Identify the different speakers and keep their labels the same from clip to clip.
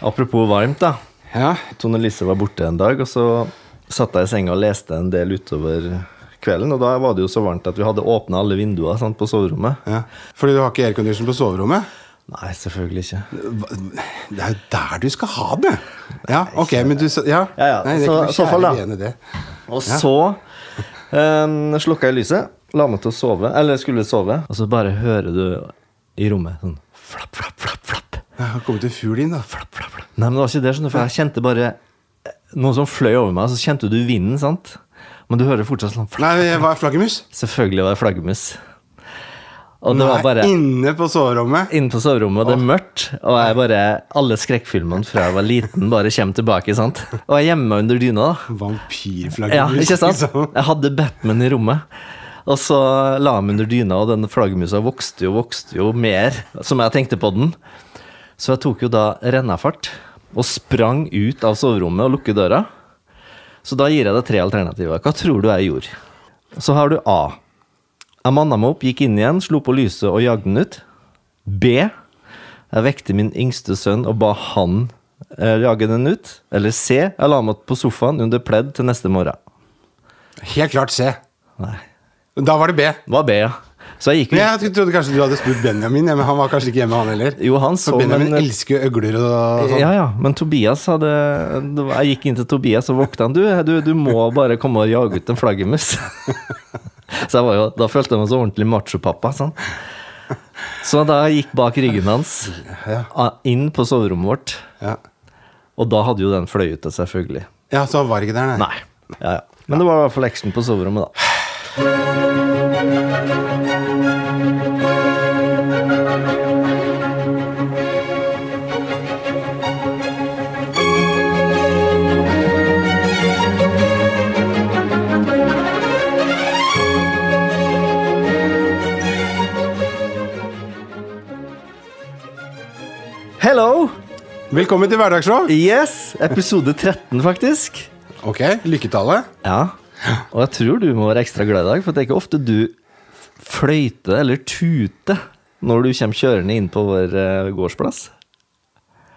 Speaker 1: Apropos varmt, da.
Speaker 2: Ja.
Speaker 1: Tone Lise var borte en dag, og så satt jeg i senga og leste en del utover kvelden. Og da var det jo så varmt at vi hadde åpna alle vinduer sant, på soverommet.
Speaker 2: ja. Fordi du har ikke aircondition på soverommet?
Speaker 1: Nei, selvfølgelig ikke.
Speaker 2: Hva- Det er jo der du skal ha det! Ja, ok, men du sa Ja,
Speaker 1: Ja, ja,
Speaker 2: Nei, det er
Speaker 1: så-
Speaker 2: ikke
Speaker 1: så
Speaker 2: noe
Speaker 1: fall da.
Speaker 2: kjære vene, det.
Speaker 1: Og så um, slukka jeg lyset, la meg til å sove, eller skulle sove, og så bare hører du i rommet sånn flapp, flapp, flapp, flapp.
Speaker 2: Jeg har kommet en fugl inn, da.
Speaker 1: flapp, flapp, flapp. Nei, men det var ikke det, skjønner du, for jeg kjente bare eh, noe som fløy over meg, så kjente du vinden, sant? Men du hører fortsatt sånn flapp.
Speaker 2: Nei, jeg var flaggermus.
Speaker 1: Selvfølgelig var det flaggermus. Og det
Speaker 2: Nei,
Speaker 1: var bare
Speaker 2: Inne på soverommet.
Speaker 1: inne på soverommet, og det er mørkt, og jeg bare Alle skrekkfilmene fra jeg var liten, bare kommer tilbake, sant? Og jeg gjemmer meg under dyna, da. Ja,
Speaker 2: Vampyrflaggermus.
Speaker 1: ikke sant?
Speaker 2: liksom.
Speaker 1: Jeg hadde Batman i rommet. Og så la jeg meg under dyna, og den flaggermusa vokste jo vokste jo mer. Som jeg tenkte på den. Så jeg tok jo da rennafart og sprang ut av soverommet og lukket døra. Så da gir jeg deg tre alternativer. Hva tror du jeg gjorde? Så har du A. Jeg manna meg opp, gikk inn igjen, slo på lyset og jagde den ut. B. Jeg vekte min yngste sønn og ba han eh, jage den ut. Eller C. Jeg la meg på sofaen under pledd til neste morgen.
Speaker 2: Helt klart C.
Speaker 1: Nei.
Speaker 2: Da var det B.
Speaker 1: Det var B, ja. Så jeg gikk
Speaker 2: Men
Speaker 1: jo
Speaker 2: jeg trodde kanskje du hadde spurt Benjamin, ja, men han var kanskje ikke hjemme, han heller.
Speaker 1: Jo, han så,
Speaker 2: For Benjamin
Speaker 1: men-
Speaker 2: elsker jo øgler og sånn.
Speaker 1: Ja, ja, men Tobias hadde det var- Jeg gikk inn til Tobias og vokta han. Du, du, du må bare komme og jage ut en flaggermus. Så jeg var jo, da følte jeg meg så ordentlig machopappa. Sånn. Så da jeg gikk bak ryggen hans,
Speaker 2: Ja.
Speaker 1: a- inn på soverommet vårt,
Speaker 2: Ja.
Speaker 1: og da hadde jo den fløyet ut, selvfølgelig.
Speaker 2: ja, så han var ikke der, nei.
Speaker 1: Nei. Ja, ja. Men det var i hvert fall action på soverommet, da. Hello!
Speaker 2: Velkommen til Hverdagsshow.
Speaker 1: Yes! Episode 13, faktisk.
Speaker 2: Ok, lykketallet.
Speaker 1: Ja, og jeg tror du må være ekstra glad i dag, for det er ikke ofte du f- fløyter eller tuter når du kommer kjørende inn på vår eh, gårdsplass.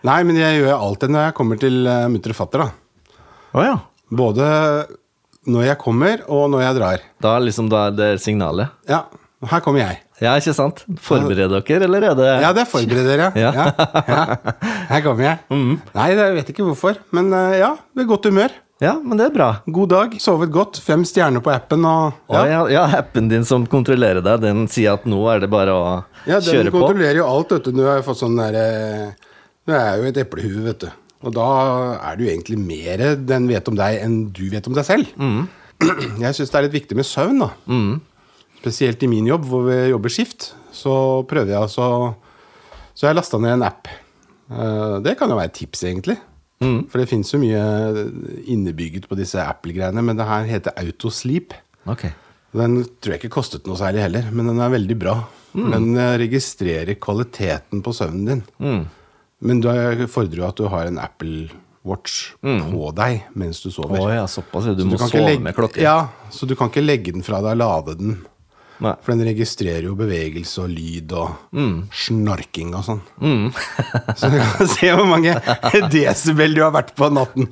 Speaker 2: Nei, men jeg gjør alltid når jeg kommer til uh, mutter og fatter, da.
Speaker 1: Å ja.
Speaker 2: Både når jeg kommer, og når jeg drar.
Speaker 1: Da er liksom da er det signalet.
Speaker 2: Ja, her kommer jeg.
Speaker 1: Ja, ikke sant? Forbereder dere, eller er det
Speaker 2: Ja, det forbereder dere.
Speaker 1: Ja.
Speaker 2: Ja. Ja. ja. Her kommer jeg. Nei, jeg vet ikke hvorfor, men eh, ja, ved godt humør.
Speaker 1: Ja, men det er bra.
Speaker 2: God dag, sovet godt, fem stjerner på appen og
Speaker 1: Ja.
Speaker 2: ja.
Speaker 1: ja, ja, appen din som kontrollerer deg, den sier at nå er det bare å
Speaker 2: Ja, den
Speaker 1: kjøre på.
Speaker 2: kontrollerer jo alt, vet du. Du har jo fått sånn derre Du er jo et eplehue, vet du. Og da er det jo egentlig mer den vet om deg, enn du vet om deg selv. Jeg syns det er litt viktig med søvn, da. Spesielt i min jobb, hvor vi jobber skift. Så prøver jeg altså Så jeg lasta ned en app. Eh, Det kan jo være et tips, egentlig. For det fins jo mye innebygget på disse Apple-greiene, men det her heter Autosleep.
Speaker 1: Ok.
Speaker 2: Den tror jeg ikke kostet noe særlig heller, men den er veldig bra.
Speaker 1: Mm.
Speaker 2: Den eh, registrerer kvaliteten på søvnen din.
Speaker 1: Mm.
Speaker 2: Men det fordrer jo at du har en Apple Watch på deg mens du
Speaker 1: Mm. Å
Speaker 2: sover.
Speaker 1: ja, såpass. ja. Du,
Speaker 2: Så
Speaker 1: må
Speaker 2: kan ikke
Speaker 1: sove
Speaker 2: legge-
Speaker 1: med klokke.
Speaker 2: Ja, så du kan ikke legge den fra deg og lade den.
Speaker 1: Nei.
Speaker 2: For den registrerer jo bevegelse og lyd og
Speaker 1: Mm.
Speaker 2: snorking og sånn. så du kan se hvor mange desibel du har vært på natten.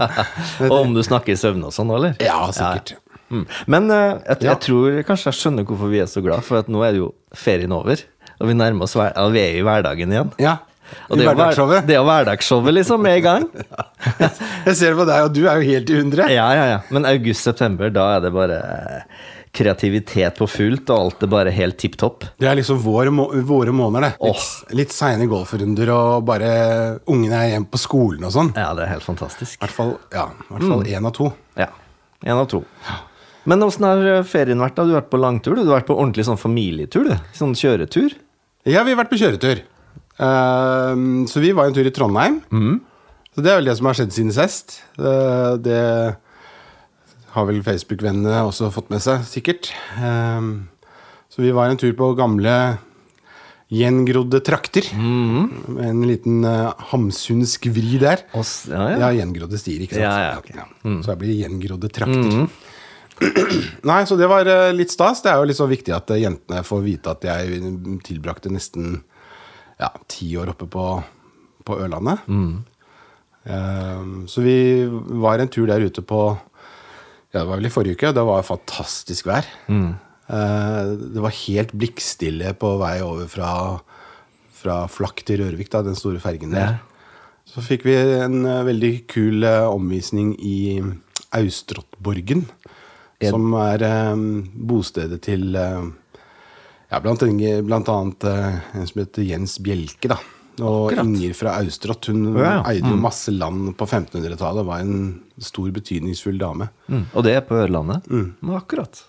Speaker 1: Og om du snakker i søvne og sånn, eller?
Speaker 2: Ja, sikkert.
Speaker 1: Mm. Men eh, jeg,
Speaker 2: Ja.
Speaker 1: jeg tror kanskje jeg skjønner hvorfor vi er så glad, for at nå er det jo ferien over. Og vi nærmer oss hver, ja, vi er i hverdagen igjen.
Speaker 2: Ja.
Speaker 1: Og det er
Speaker 2: I
Speaker 1: jo hver-
Speaker 2: hverdagsshowet.
Speaker 1: det er jo hverdagsshowet, liksom, med i gang.
Speaker 2: Jeg ser det på deg, og du er jo helt i hundre.
Speaker 1: Ja, ja, ja. Men august-september, da er det bare eh, kreativitet på fullt, og alt er bare helt tipp topp.
Speaker 2: Det er liksom vår, må våre måneder, det. Litt,
Speaker 1: Åh.
Speaker 2: litt seine golfrunder, og bare ungene er hjemme på skolen og sånn. I
Speaker 1: Ja, det er helt fantastisk.
Speaker 2: hvert fall ja, i hvert fall én av to.
Speaker 1: Ja. Én av to. Men åssen har eh, ferien vært? da? Du har vært på langtur? Du Du har vært på ordentlig sånn familietur? du? Sånn kjøretur?
Speaker 2: Ja, vi har vært på kjøretur. Ehm, så vi var en tur i Trondheim. Så det er vel det som har skjedd siden sist. Eh, det har vel Facebook-vennene også fått med seg, sikkert. Ehm, så vi var en tur på gamle gjengrodde trakter. Med en liten eh, hamsunsk vri der.
Speaker 1: Og s- ja, ja.
Speaker 2: Ja, gjengrodde stier, ikke sant. Mm.
Speaker 1: Ja, ja, ok. Mm.
Speaker 2: Så det blir gjengrodde trakter. Nei, så det var eh, litt stas. Det er jo litt så viktig at eh, mm, jentene får vite at jeg tilbrakte nesten ja, ti år oppe på, på Ørlandet.
Speaker 1: Mm.
Speaker 2: Eh, så vi var en tur der ute på Ja, det var vel i forrige uke. Det var fantastisk vær.
Speaker 1: Mm.
Speaker 2: Eh, det var helt blikkstille på vei over fra, fra Flakk til Rørvik, da, den store fergen der. Så fikk vi en eh, veldig kul eh, omvisning i Austrottborgen.
Speaker 1: Er-
Speaker 2: Som er eh, bostedet til eh, ja, blant, en- blant annet eh, en som heter Jens Bjelke, da. Og
Speaker 1: Akkurat.
Speaker 2: Inger fra Austrott. Hun
Speaker 1: Ja, Mm. ja.
Speaker 2: eide jo masse land på 1500-tallet. Var en stor, betydningsfull dame.
Speaker 1: Mm. Og det er på Ørlandet?
Speaker 2: Mm.
Speaker 1: Ja, akkurat.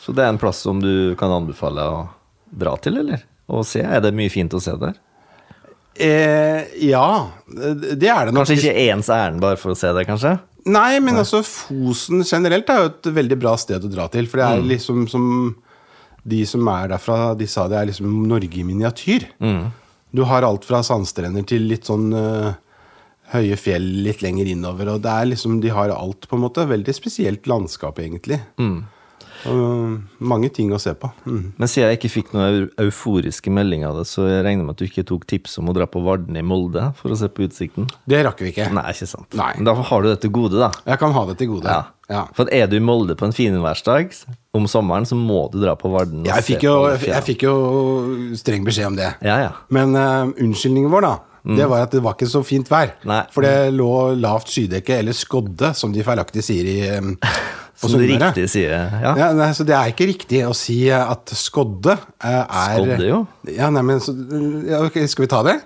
Speaker 1: Så det er en plass som du kan anbefale å dra til, eller? Og se? Er det mye fint å se der?
Speaker 2: Eh, ja, det er det nok.
Speaker 1: Kanskje ikke ens ærend bare for å se det, kanskje?
Speaker 2: Nei, men altså Fosen generelt er jo et veldig bra sted å dra til. For det
Speaker 1: Mm.
Speaker 2: er liksom som De som er derfra, de sa det er liksom Norge i miniatyr.
Speaker 1: Mm.
Speaker 2: Du har alt fra sandstrender til litt sånn eh, høye fjell litt lenger innover. Og det er liksom, de har alt, på en måte. Veldig spesielt landskap, egentlig.
Speaker 1: Mm.
Speaker 2: Og, eh, mange ting å se på. Mm.
Speaker 1: Men siden jeg ikke fikk noen eu- euforiske meldinger av det, så jeg regner med at du ikke tok tips om å dra på Varden i Molde for å se på utsikten?
Speaker 2: Det rakk vi ikke.
Speaker 1: Nei, ikke sant.
Speaker 2: Nei.
Speaker 1: Men Da har du det til gode, da.
Speaker 2: Jeg kan ha det til gode.
Speaker 1: Ja.
Speaker 2: Ja.
Speaker 1: For er du i Molde på en finværsdag om sommeren, så må du dra på Varden. og
Speaker 2: Jeg
Speaker 1: se
Speaker 2: fikk jo,
Speaker 1: på
Speaker 2: jeg,
Speaker 1: fjæra.
Speaker 2: fikk jo streng beskjed om det.
Speaker 1: Ja, ja.
Speaker 2: Men eh, unnskyldningen vår, da, det var at det var ikke så fint vær.
Speaker 1: Mm. Nei.
Speaker 2: For det lå lavt skydekke, eller skodde, som de feilaktig sier i eh, på
Speaker 1: Som du
Speaker 2: Sunnmøre.
Speaker 1: riktig sier. Ja.
Speaker 2: Ja, nei, så det er ikke riktig å si eh, at skodde eh, er
Speaker 1: Skodde, jo.
Speaker 2: Ja, nei, men så, ja, ok, Skal vi ta det?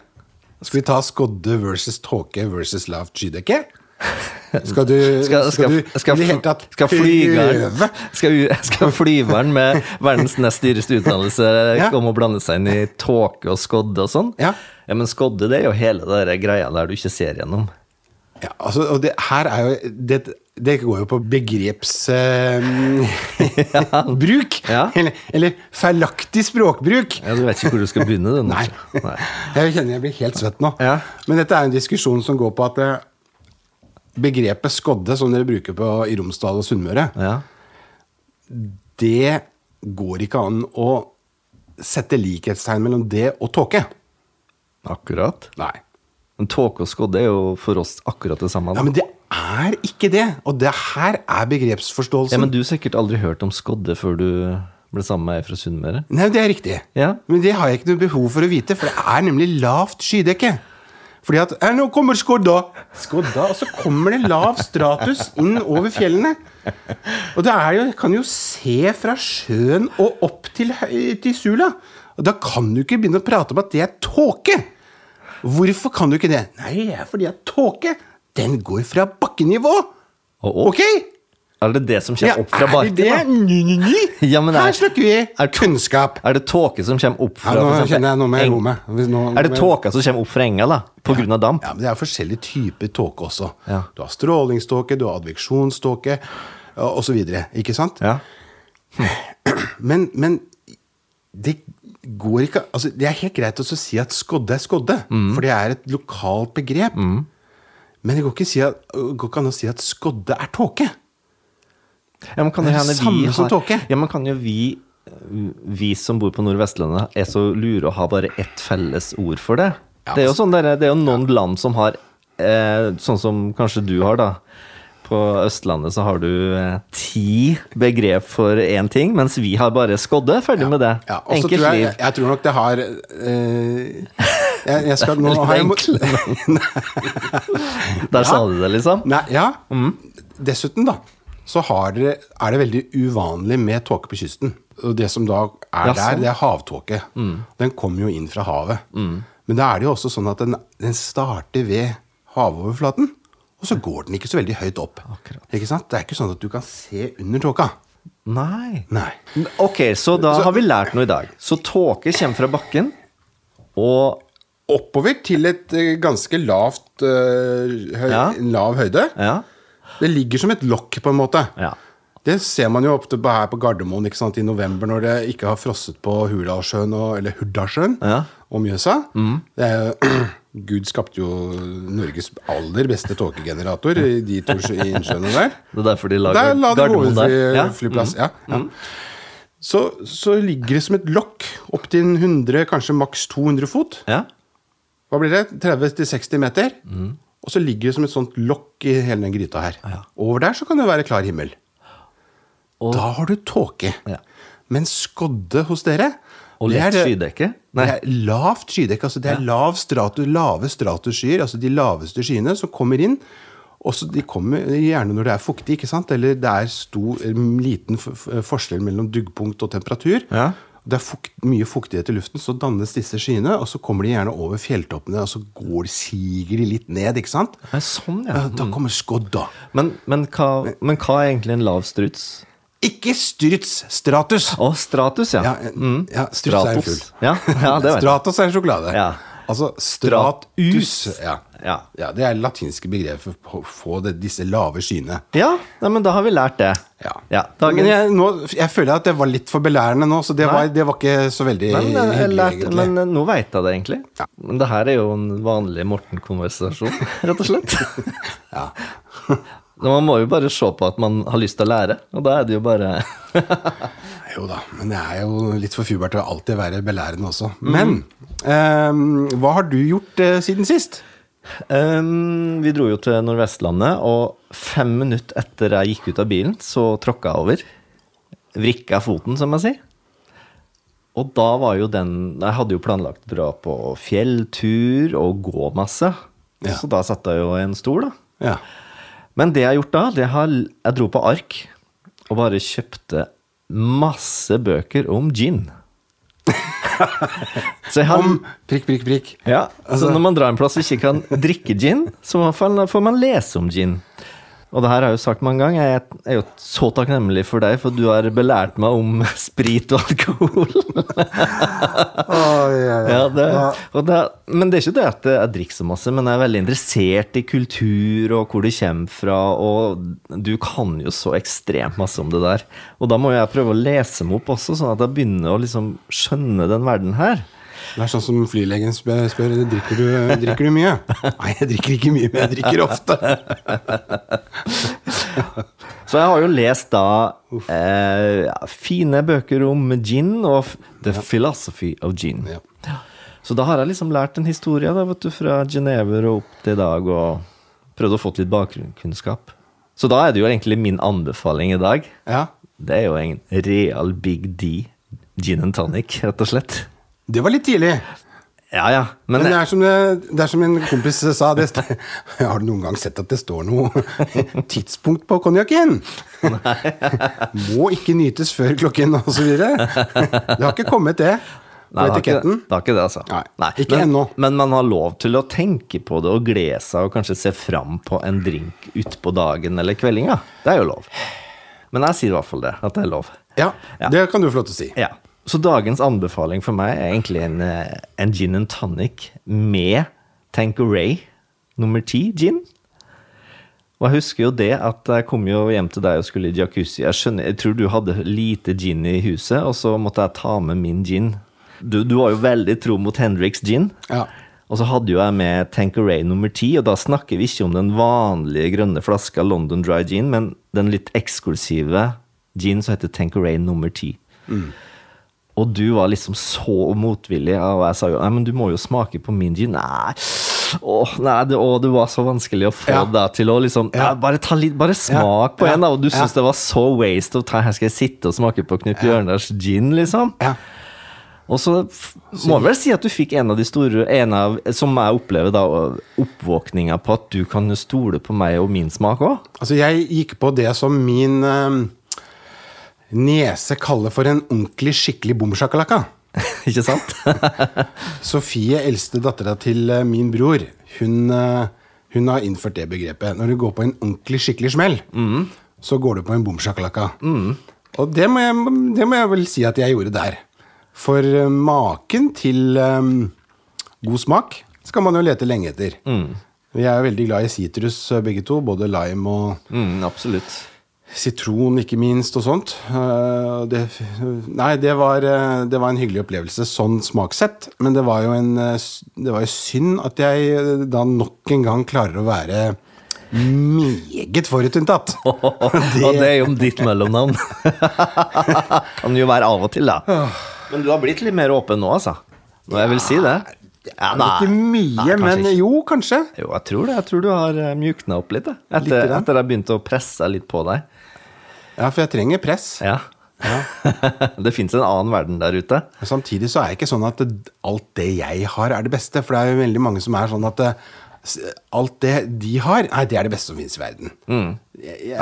Speaker 2: Skal vi ta skodde versus tåke versus lavt skydekke? Skal du
Speaker 1: Skal, skal,
Speaker 2: du
Speaker 1: skal,
Speaker 2: i det hele tatt
Speaker 1: skal flygeren
Speaker 2: prøve?
Speaker 1: skal, u- skal flyveren med verdens nest dyreste utdannelse
Speaker 2: Ja.
Speaker 1: komme og blande seg inn i tåke og skodde og sånn?
Speaker 2: Ja.
Speaker 1: Men skodde, det er jo hele det der greia der du ikke ser gjennom.
Speaker 2: Ja, altså, og det her er jo Det, det går jo på begrepsbruk.
Speaker 1: Ja.
Speaker 2: eller, eller feilaktig språkbruk.
Speaker 1: Ja, du vet ikke hvor du skal begynne, du. nå.
Speaker 2: Nei.
Speaker 1: Nei.
Speaker 2: Jeg kjenner jeg blir helt svett nå.
Speaker 1: Ja.
Speaker 2: Men dette er en diskusjon som går på at eh, begrepet skodde, som dere bruker på, i Romsdal og Sunnmøre,
Speaker 1: Ja.
Speaker 2: det går ikke an å sette likhetstegn mellom det og tåke.
Speaker 1: Akkurat.
Speaker 2: Nei.
Speaker 1: Men tåke og skodde er jo for oss akkurat det samme.
Speaker 2: Ja,
Speaker 1: Da.
Speaker 2: men det er ikke det. Og det her er begrepsforståelsen.
Speaker 1: Ja, men du har sikkert aldri hørt om skodde før du ble sammen med ei fra Sunnmøre?
Speaker 2: Nei, det er riktig.
Speaker 1: Ja.
Speaker 2: Men det har jeg ikke noe behov for å vite, for det er nemlig lavt skydekke. Fordi at «Eh, Nå kommer skodda! Skodda, Og så kommer det lav stratus inn over fjellene. Og det er jo, jeg kan jo se fra sjøen og opp til, høy- til Sula. Og da kan du ikke begynne å prate om at det er tåke! Hvorfor kan du ikke det? Nei, det er fordi at tåke, den går fra bakkenivå!
Speaker 1: Og opp?
Speaker 2: Ok?
Speaker 1: Er det det som kommer opp fra
Speaker 2: er det
Speaker 1: barken?
Speaker 2: det? Ny, ny, ny.
Speaker 1: Ja, men er-
Speaker 2: Her snakker vi
Speaker 1: er-
Speaker 2: kunnskap!
Speaker 1: da? Er det tåke som kommer opp fra
Speaker 2: Ja, nå
Speaker 1: for eksempel
Speaker 2: kjenner jeg noe med
Speaker 1: eng-
Speaker 2: rommet. Hvis nå-
Speaker 1: Er det tåka som kommer opp fra enga, da? På grunn av damp?
Speaker 2: Ja, men Det er forskjellige typer tåke også.
Speaker 1: Ja.
Speaker 2: Du har strålingståke, du har adveksjonståke osv. Ikke sant?
Speaker 1: Ja.
Speaker 2: Men, men det går ikke altså, Det er helt greit også å si at skodde er skodde, for det er et lokalt begrep. Men det går ikke, si at, går ikke an å si at skodde er tåke.
Speaker 1: Ja, men kan
Speaker 2: Det
Speaker 1: det
Speaker 2: er
Speaker 1: hende
Speaker 2: det samme
Speaker 1: vi har,
Speaker 2: som tåke.
Speaker 1: Ja, men kan jo vi, vi som bor på Nordvestlandet, er så lure å ha bare ett felles ord for det?
Speaker 2: Ja,
Speaker 1: det, er jo sånn der, det er jo noen land som har eh, Sånn som kanskje du har, da. På Østlandet så har du eh, ti begrep for én ting, mens vi har bare skodde. Ferdig med det.
Speaker 2: Ja, og så
Speaker 1: Enkelt
Speaker 2: tror jeg,
Speaker 1: liv.
Speaker 2: jeg, jeg tror nok det har eh, jeg, jeg skal nå
Speaker 1: Litt
Speaker 2: har jeg må-
Speaker 1: Der sa du det, liksom.
Speaker 2: Nei, ja. Dessuten, da, så har dere, er det veldig uvanlig med tåke på kysten. Og det som da er
Speaker 1: Ja, sånn.
Speaker 2: der, det er havtåke.
Speaker 1: Mm.
Speaker 2: Den kommer jo inn fra havet. Men da er det jo også sånn at den, den starter ved havoverflaten, og så går den ikke så veldig høyt opp.
Speaker 1: Akkurat.
Speaker 2: Ikke sant? Det er ikke sånn at du kan se under tåka.
Speaker 1: Nei.
Speaker 2: Nei.
Speaker 1: Ok, så da
Speaker 2: Så-
Speaker 1: har vi lært noe i dag. Så tåke kommer fra bakken, og
Speaker 2: Oppover til et eh, ganske lavt eh, høy,
Speaker 1: Ja.
Speaker 2: lav høyde.
Speaker 1: Ja.
Speaker 2: Det ligger som et lokk, på en måte.
Speaker 1: Ja.
Speaker 2: Det ser man jo ofte på- her på Gardermoen ikke sant? i november, når det ikke har frosset på Hurdalssjøen og, eller Hurdalssjøen
Speaker 1: Ja. Mm.
Speaker 2: og Mjøsa. Det er, jo- Gud skapte jo Norges aller beste tåkegenerator i de to sjø- i innsjøene der.
Speaker 1: Det er derfor de lager
Speaker 2: Der la de
Speaker 1: Gardermoen der. Ja. Mm.
Speaker 2: hovedflyplass. Ja. Ja. Så, så ligger det som et lokk opptil 100, kanskje maks 200 fot.
Speaker 1: Ja.
Speaker 2: hva blir det? 30-60 meter. Og så ligger det som et sånt lokk i hele den gryta her.
Speaker 1: Mm. Ja.
Speaker 2: Over der så kan det være klar himmel.
Speaker 1: Og-
Speaker 2: da har du tåke.
Speaker 1: Ja.
Speaker 2: Men skodde hos dere
Speaker 1: Og
Speaker 2: det er
Speaker 1: lett
Speaker 2: det-
Speaker 1: skydekke? Nei.
Speaker 2: Det er lavt skydekke. Altså det er lav stratu, lave stratuskyer, altså de laveste skyene som kommer inn. Også de kommer gjerne når det er fuktig, ikke sant? eller det er stor, en liten f- f- forskjell mellom duggpunkt og temperatur.
Speaker 1: Ja.
Speaker 2: Det er fukt, mye fuktighet i luften, så dannes disse skyene. Og så kommer de gjerne over fjelltoppene, og så går de, siger de litt ned. ikke sant?
Speaker 1: Nei, sånn, ja.
Speaker 2: Ja, Da kommer skodda.
Speaker 1: Men, men, hva, men hva er egentlig en lav struts?
Speaker 2: Ikke stryts! Stratus!
Speaker 1: Å, stratus, ja. mm.
Speaker 2: Ja, ja, struts er en fugl.
Speaker 1: Stratos. Ja, ja, det vet jeg.
Speaker 2: Stratos er en sjokolade.
Speaker 1: Ja.
Speaker 2: Altså stratus.
Speaker 1: Stratus.
Speaker 2: Ja.
Speaker 1: Ja.
Speaker 2: ja, Det er latinske begrep for å få det, disse lave skyene.
Speaker 1: Ja, nei, men da har vi lært det.
Speaker 2: Ja.
Speaker 1: dagen,
Speaker 2: Men jeg, nå, jeg føler at det var litt for belærende nå, så det,
Speaker 1: Nei.
Speaker 2: var, det var ikke så veldig
Speaker 1: Nei, men, jeg har
Speaker 2: hyggelig,
Speaker 1: lært,
Speaker 2: egentlig.
Speaker 1: men eh, nå veit jeg det egentlig.
Speaker 2: Ja.
Speaker 1: Men det her er jo en vanlig Morten-konversasjon, rett og slett.
Speaker 2: Ja.
Speaker 1: Men man må jo bare se på at man har lyst til å lære, og da er det jo bare
Speaker 2: Jo da, men det er jo litt for fubert å alltid være belærende også.
Speaker 1: Mm.
Speaker 2: Men ehm, hva har du gjort eh, siden sist?
Speaker 1: Ehm, Vi dro jo til Nordvestlandet, og fem minutter etter jeg gikk ut av bilen, så tråkka jeg over. Vrikka foten, som jeg sier. Og da var jo den Jeg hadde jo planlagt å dra på fjelltur og gå masse.
Speaker 2: Ja.
Speaker 1: Så da satt jeg jo i en stol, da.
Speaker 2: Ja.
Speaker 1: Men det jeg har gjort da, det har, jeg dro på ark og bare kjøpte masse bøker om gin. så jeg har,
Speaker 2: Om prikk, prikk, prikk.
Speaker 1: ja, så når man drar en plass og ikke kan drikke gin, så i hvert fall får man lese om gin. Og det her har jeg jo sagt mange ganger, jeg er jo så takknemlig for deg, for du har belært meg om sprit og alkohol. Ja, det, og det, men det er ikke det at jeg drikker så masse, men jeg er veldig interessert i kultur og hvor det kommer fra, og du kan jo så ekstremt masse om det der. Og da må jeg prøve å lese meg opp også, sånn at jeg begynner å liksom skjønne den verden her.
Speaker 2: Det er sånn som flylegen spør, spør drikker, du, drikker du mye? Nei, jeg drikker ikke mye, men jeg drikker ofte.
Speaker 1: Så jeg har jo lest da eh, ja, fine bøker om gin og f- The Philosophy of Gin.
Speaker 2: Ja.
Speaker 1: Så da har jeg liksom lært en historie da, vet du, fra Genever og opp til i dag, og prøvd å få litt bakgrunnskunnskap. Så da er det jo egentlig min anbefaling i dag.
Speaker 2: Ja.
Speaker 1: Det er jo en real big D gin and tonic, rett og slett.
Speaker 2: Det var litt tidlig.
Speaker 1: Ja, ja. Men,
Speaker 2: Men det er som, det, det er som en kompis sa det, st- Har du noen gang sett at det står noe tidspunkt på konjakken? Må ikke nytes før klokken og så videre Det har ikke kommet, det. På
Speaker 1: Nei, det har ikke
Speaker 2: etiketten.
Speaker 1: det. Det har ikke det, altså.
Speaker 2: Nei, ikke
Speaker 1: men,
Speaker 2: ennå.
Speaker 1: Men man har lov til å tenke på det og glede seg og kanskje se fram på en drink utpå dagen eller kveldinga. Det er jo lov. Men jeg sier i hvert fall det, at det er lov.
Speaker 2: Ja,
Speaker 1: Ja.
Speaker 2: det kan du få lov til å si.
Speaker 1: Ja. Så dagens anbefaling for meg er egentlig en, eh, en gin and tonic med Tanqueray nummer ti gin. Og jeg husker jo det at jeg kom jo hjem til deg og skulle i jacuzzi. Jeg, skjønner, jeg tror du hadde lite gin i huset, og så måtte jeg ta med min gin. Du, du var jo veldig tro mot Hendrix gin.
Speaker 2: Ja.
Speaker 1: Og så hadde jo jeg med Tanqueray nummer ti, og da snakker vi ikke om den vanlige grønne flaska London Dry Gin, men den litt eksklusive gin som heter Tanqueray nummer ti.
Speaker 2: Mm.
Speaker 1: Og du var liksom så motvillig, og jeg sa jo nei, men du må jo smake på min gin. Nei, åh, nei det, åh, det var så vanskelig å få
Speaker 2: Ja.
Speaker 1: deg til å liksom «Nei,
Speaker 2: Ja.
Speaker 1: bare, ta litt, bare smak på
Speaker 2: Ja.
Speaker 1: en, da. Og du syntes
Speaker 2: Ja.
Speaker 1: det var så waste of time. Her skal jeg sitte og smake på Knut Bjørnars gin, liksom.
Speaker 2: Ja.
Speaker 1: Og så f- må jeg vel si at du fikk en av de store en av, Som jeg opplever da, oppvåkninga på at du kan stole på meg og min smak òg.
Speaker 2: Altså, jeg gikk på det som min ehm, nese kaller for en ordentlig, skikkelig bomsjakalaka.
Speaker 1: Ikke sant?
Speaker 2: Sofie, eldste dattera til eh, min bror, hun, eh, hun har innført det begrepet. Når du går på en ordentlig, skikkelig smell, så går du på en bomsjakalaka. Og det må, jeg, det må jeg vel si at jeg gjorde der. For eh, maken til ehm, god smak skal man jo lete lenge etter. Vi er jo veldig glad i sitrus, eh, begge to. Både lime og
Speaker 1: Mm, absolutt.
Speaker 2: Sitron, ikke minst, og sånt. Eh, Det, nei, det var, eh, det var en hyggelig opplevelse sånn smakssett. Men det var jo en eh, s- Det var jo synd at jeg eh, da nok en gang klarer å være meget forutinntatt.
Speaker 1: Og det er jo ditt mellomnavn. kan jo være av og til, da. Men du har blitt litt mer åpen nå, altså. Nå jeg vil si det. Ja,
Speaker 2: Ikke mye,
Speaker 1: nei, kanskje
Speaker 2: men
Speaker 1: ikke.
Speaker 2: jo, kanskje.
Speaker 1: Jo, jeg tror det. Jeg tror du har eh, mjukna opp litt, jeg. Etter,
Speaker 2: Litt grann.
Speaker 1: etter jeg begynte å presse litt på deg.
Speaker 2: Ja, for jeg trenger press.
Speaker 1: Ja. det fins en annen verden der ute.
Speaker 2: Men samtidig så er det ikke sånn at det- alt det jeg har, er det beste. For det er jo veldig mange som er sånn at eh, s- alt det de har, nei, det er det beste som finnes i verden. Jeg, jeg
Speaker 1: Mm.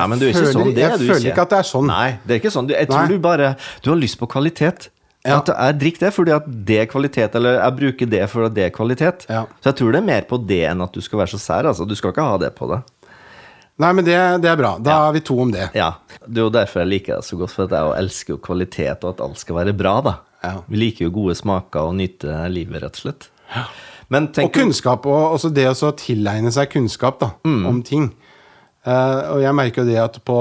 Speaker 1: Nei, men du er ikke
Speaker 2: føler,
Speaker 1: sånn. Det er
Speaker 2: jeg
Speaker 1: du
Speaker 2: føler ikke at det er sånn.
Speaker 1: Nei, det er ikke sånn. Du- Jeg tror
Speaker 2: Nei.
Speaker 1: du bare Du har lyst på kvalitet.
Speaker 2: Ja.
Speaker 1: At jeg drikker det fordi at det er kvalitet, eller jeg bruker det fordi at det er kvalitet.
Speaker 2: Ja.
Speaker 1: Så jeg tror det er mer på det enn at du skal være så sær. Altså. Du skal ikke ha det på deg.
Speaker 2: Nei, men det, det er bra. Da er vi to om det.
Speaker 1: Ja. Det er jo derfor jeg liker deg så godt, for at jeg jo elsker jo kvalitet, og at alt skal være bra, da.
Speaker 2: Ja.
Speaker 1: Vi liker jo gode smaker og nyte livet, rett og slett. Men
Speaker 2: Og
Speaker 1: tenk
Speaker 2: kunnskap, og også det å så tilegne seg kunnskap da,
Speaker 1: Mm.
Speaker 2: om ting. Eh, og jeg merker jo det at på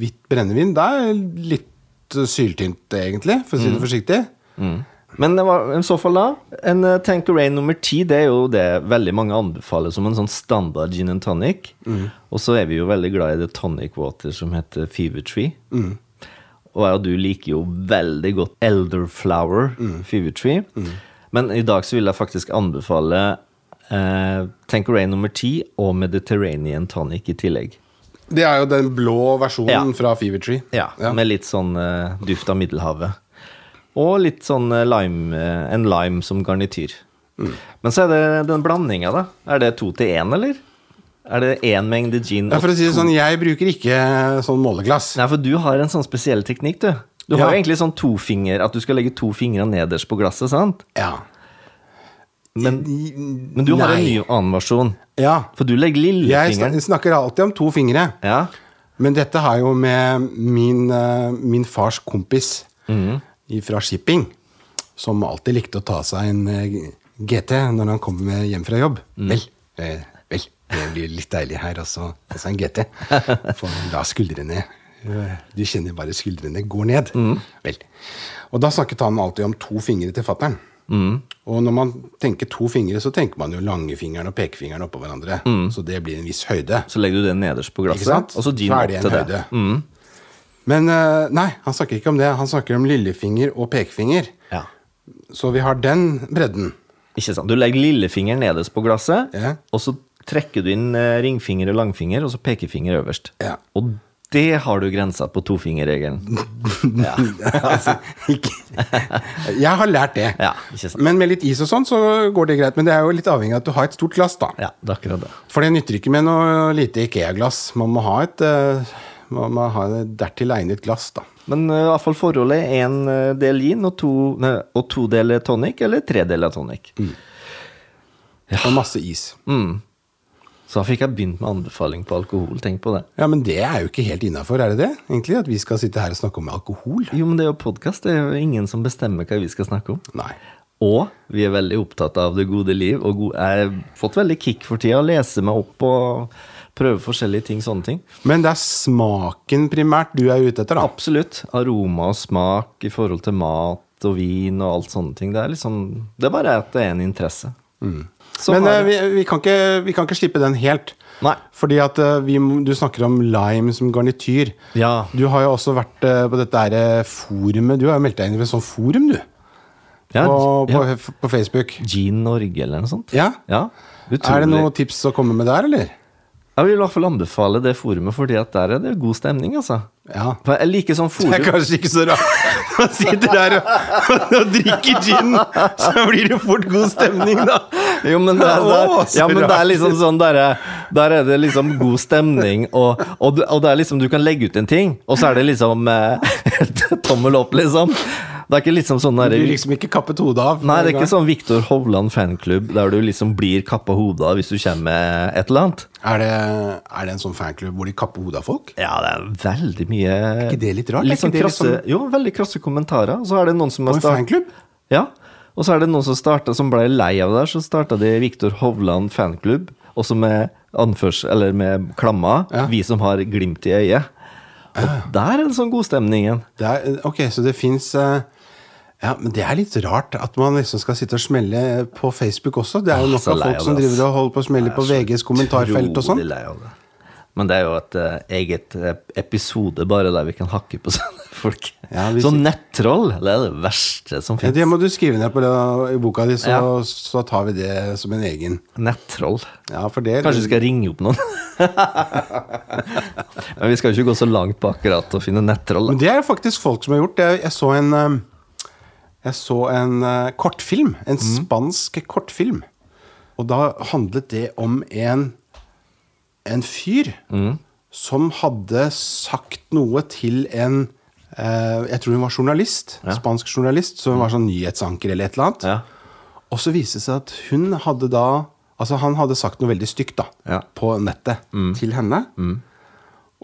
Speaker 2: hvitt brennevin, det er litt syltynt egentlig, for å si
Speaker 1: Mm.
Speaker 2: det forsiktig.
Speaker 1: Men det var, i så fall da, en eh, Tanqueray nummer ti, det er jo det veldig mange anbefaler som en sånn standard gin and tonic. Og så er vi jo veldig glad i det tonic water som heter Fever Tree. Og jeg og du liker jo veldig godt Elderflower Fever Tree. Men i dag så vil jeg faktisk anbefale eh, Tanqueray nummer ti og Mediterranean tonic i tillegg.
Speaker 2: Det er jo den blå versjonen
Speaker 1: Ja.
Speaker 2: fra Fever Tree.
Speaker 1: Ja, med litt sånn eh, duft av Middelhavet. Og litt sånn eh, lime, eh, en lime som garnityr.
Speaker 2: Mm.
Speaker 1: Men så er det den blandinga, da. Er det to til én, eller? Er det én mengde gin
Speaker 2: Ja,
Speaker 1: og
Speaker 2: for å si det sånn, jeg bruker ikke sånn måleglass.
Speaker 1: Nei, for du har en sånn spesiell teknikk, du. Du har
Speaker 2: Ja.
Speaker 1: jo egentlig sånn tofinger, at du skal legge to fingre nederst på glasset, sant?
Speaker 2: Ja.
Speaker 1: Men, men du har en ny annen versjon.
Speaker 2: Ja.
Speaker 1: For du legger
Speaker 2: Jeg
Speaker 1: lillefingeren.
Speaker 2: sn- snakker alltid om to fingre.
Speaker 1: Ja.
Speaker 2: Men dette har jo med min, eh, min fars kompis i- fra Shipping, som alltid likte å ta seg en eh, GT når han kom med hjem fra jobb. Vel, eh, vel, det blir litt deilig her også, også en GT. For la skuldrene eh, Du kjenner bare skuldrene går ned. Vel. Og da snakket han alltid om to fingre til fattern. Og når man tenker to fingre, så tenker man jo langfingeren og pekefingeren oppå hverandre. Så det blir en viss høyde.
Speaker 1: Så legger du den nederst på
Speaker 2: Ikke sant?
Speaker 1: glasset, og så gin
Speaker 2: er
Speaker 1: opp
Speaker 2: det
Speaker 1: til
Speaker 2: en
Speaker 1: det. Mm.
Speaker 2: høyde. Men eh, nei, han snakker ikke om det. Han snakker om lillefinger og pekefinger.
Speaker 1: Ja.
Speaker 2: Så vi har den bredden.
Speaker 1: Ikke sant? Du legger lillefingeren nederst på glasset,
Speaker 2: Ja.
Speaker 1: og så trekker du inn eh, ringfinger og langfinger, og så pekefinger øverst.
Speaker 2: Ja.
Speaker 1: Og det har du grensa på tofingerregelen. Ja.
Speaker 2: altså, ikke. Jeg har lært det.
Speaker 1: Ja, ikke sant.
Speaker 2: Men med litt is og sånn, så går det greit. Men det er jo litt avhengig av at du har et stort glass, da.
Speaker 1: ja, det er akkurat det.
Speaker 2: For det nytter ikke med noe lite Ikea-glass. Man må ha et eh, man må ha et dertil egnet glass, da.
Speaker 1: Men eh, i hvert fall forholdet er én del gin og to, nei, og to deler tonic, eller tre deler tonic.
Speaker 2: Mm. Og masse is.
Speaker 1: Så da fikk jeg begynt med anbefaling på alkohol. Tenk på det.
Speaker 2: Ja, Men det er jo ikke helt innafor, er det det? Egentlig, At vi skal sitte her og snakke om alkohol?
Speaker 1: Jo, men det er jo podkast. Det er jo ingen som bestemmer hva vi skal snakke om.
Speaker 2: Nei.
Speaker 1: Og vi er veldig opptatt av det gode liv. Og go- jeg har fått veldig kick for tida. Lese meg opp og prøve forskjellige ting. Sånne ting.
Speaker 2: Men det er smaken primært du er ute etter, da?
Speaker 1: Absolutt. Aroma og smak i forhold til mat og vin og alt sånne ting. Det er liksom Det er bare at det er en interesse. Så
Speaker 2: Men
Speaker 1: har
Speaker 2: eh,
Speaker 1: jeg-
Speaker 2: vi, vi, kan ikke, vi kan ikke slippe den helt.
Speaker 1: sånn Nei.
Speaker 2: Fordi at eh, vi, må- du snakker om lime som garnityr.
Speaker 1: Ja.
Speaker 2: Du har jo også vært eh, på dette her eh, forumet. Du har jo meldt deg inn i et sånt forum, du.
Speaker 1: ja,
Speaker 2: På, på,
Speaker 1: ja,
Speaker 2: på Facebook.
Speaker 1: Gin Norge eller noe sånt.
Speaker 2: Ja. Er
Speaker 1: Utrolig.
Speaker 2: det noen tips å komme med der, eller?
Speaker 1: Jeg vil i hvert fall anbefale det forumet, fordi at der er det god stemning, altså.
Speaker 2: Ja.
Speaker 1: For jeg liker sånn
Speaker 2: Det er
Speaker 1: forum
Speaker 2: kanskje ikke så rart. Man sitter der og, og drikker gin, så blir det fort god stemning, da.
Speaker 1: Jo, men det, er-
Speaker 2: Åh,
Speaker 1: det, er- ja,
Speaker 2: så
Speaker 1: men det er
Speaker 2: rart.
Speaker 1: liksom sånn der, er- der er det liksom god stemning, og, og, du- og det er liksom du kan legge ut en ting, og så er det liksom eh, tommel opp, liksom. Det er ikke liksom sånn
Speaker 2: Du blir
Speaker 1: der,
Speaker 2: liksom ikke kappet hodet av.
Speaker 1: Nei, det er ikke sånn Viktor Hovland fanklubb der du liksom blir kappa hodet av hvis du kommer med et eller annet.
Speaker 2: Er det, er det en sånn fanklubb hvor de kapper hodet av folk?
Speaker 1: Ja, det er veldig mye
Speaker 2: ikke det litt rart? Er
Speaker 1: Litt
Speaker 2: ikke
Speaker 1: sånn
Speaker 2: det litt
Speaker 1: krasse,
Speaker 2: sånn-
Speaker 1: jo, veldig krasse kommentarer. Og så er det noen som har
Speaker 2: Og en
Speaker 1: start-
Speaker 2: fanklubb?
Speaker 1: Ja. Og så er det noen som starta, som ble lei av det, her, så starta de Viktor Hovland fanklubb, også med anførs... Eller med klamma.
Speaker 2: Ja. Ah.
Speaker 1: Vi som har glimt i øyet. Og der er det sånn god stemning igjen.
Speaker 2: Det er, ok, så det fins ja, men Det er litt rart at man liksom skal sitte og smelle på Facebook også. Det er jo
Speaker 1: Åh,
Speaker 2: nok
Speaker 1: Ah, så
Speaker 2: av
Speaker 1: lei av
Speaker 2: folk som
Speaker 1: det, ass.
Speaker 2: driver og holder på å smelle på VGs kommentarfelt og sånn.
Speaker 1: Utrolig lei av det. Men det er jo et eh, eget eh, episode bare der vi kan hakke på sånne folk.
Speaker 2: Ja, hvis-
Speaker 1: Sånn nettroll, det er det verste som
Speaker 2: Ja,
Speaker 1: finnes.
Speaker 2: det må du skrive ned på det, i boka di, så,
Speaker 1: Ja.
Speaker 2: så tar vi det som en egen.
Speaker 1: Nettroll.
Speaker 2: Ja, for det
Speaker 1: Kanskje vi skal ringe opp noen? Men vi skal jo ikke gå så langt på akkurat å finne nettroll.
Speaker 2: Men
Speaker 1: Da.
Speaker 2: det er faktisk folk som har gjort det. Jeg så en, eh, jeg så en eh, kortfilm. En spansk kortfilm. Og da handlet det om en, en fyr som hadde sagt noe til en eh, Jeg tror hun var journalist. Spansk journalist. Så hun var sånn nyhetsanker eller et eller annet.
Speaker 1: Ja.
Speaker 2: Og så viste det seg at hun hadde da Altså han hadde sagt noe veldig stygt da
Speaker 1: Ja. Mm.
Speaker 2: på nettet til henne.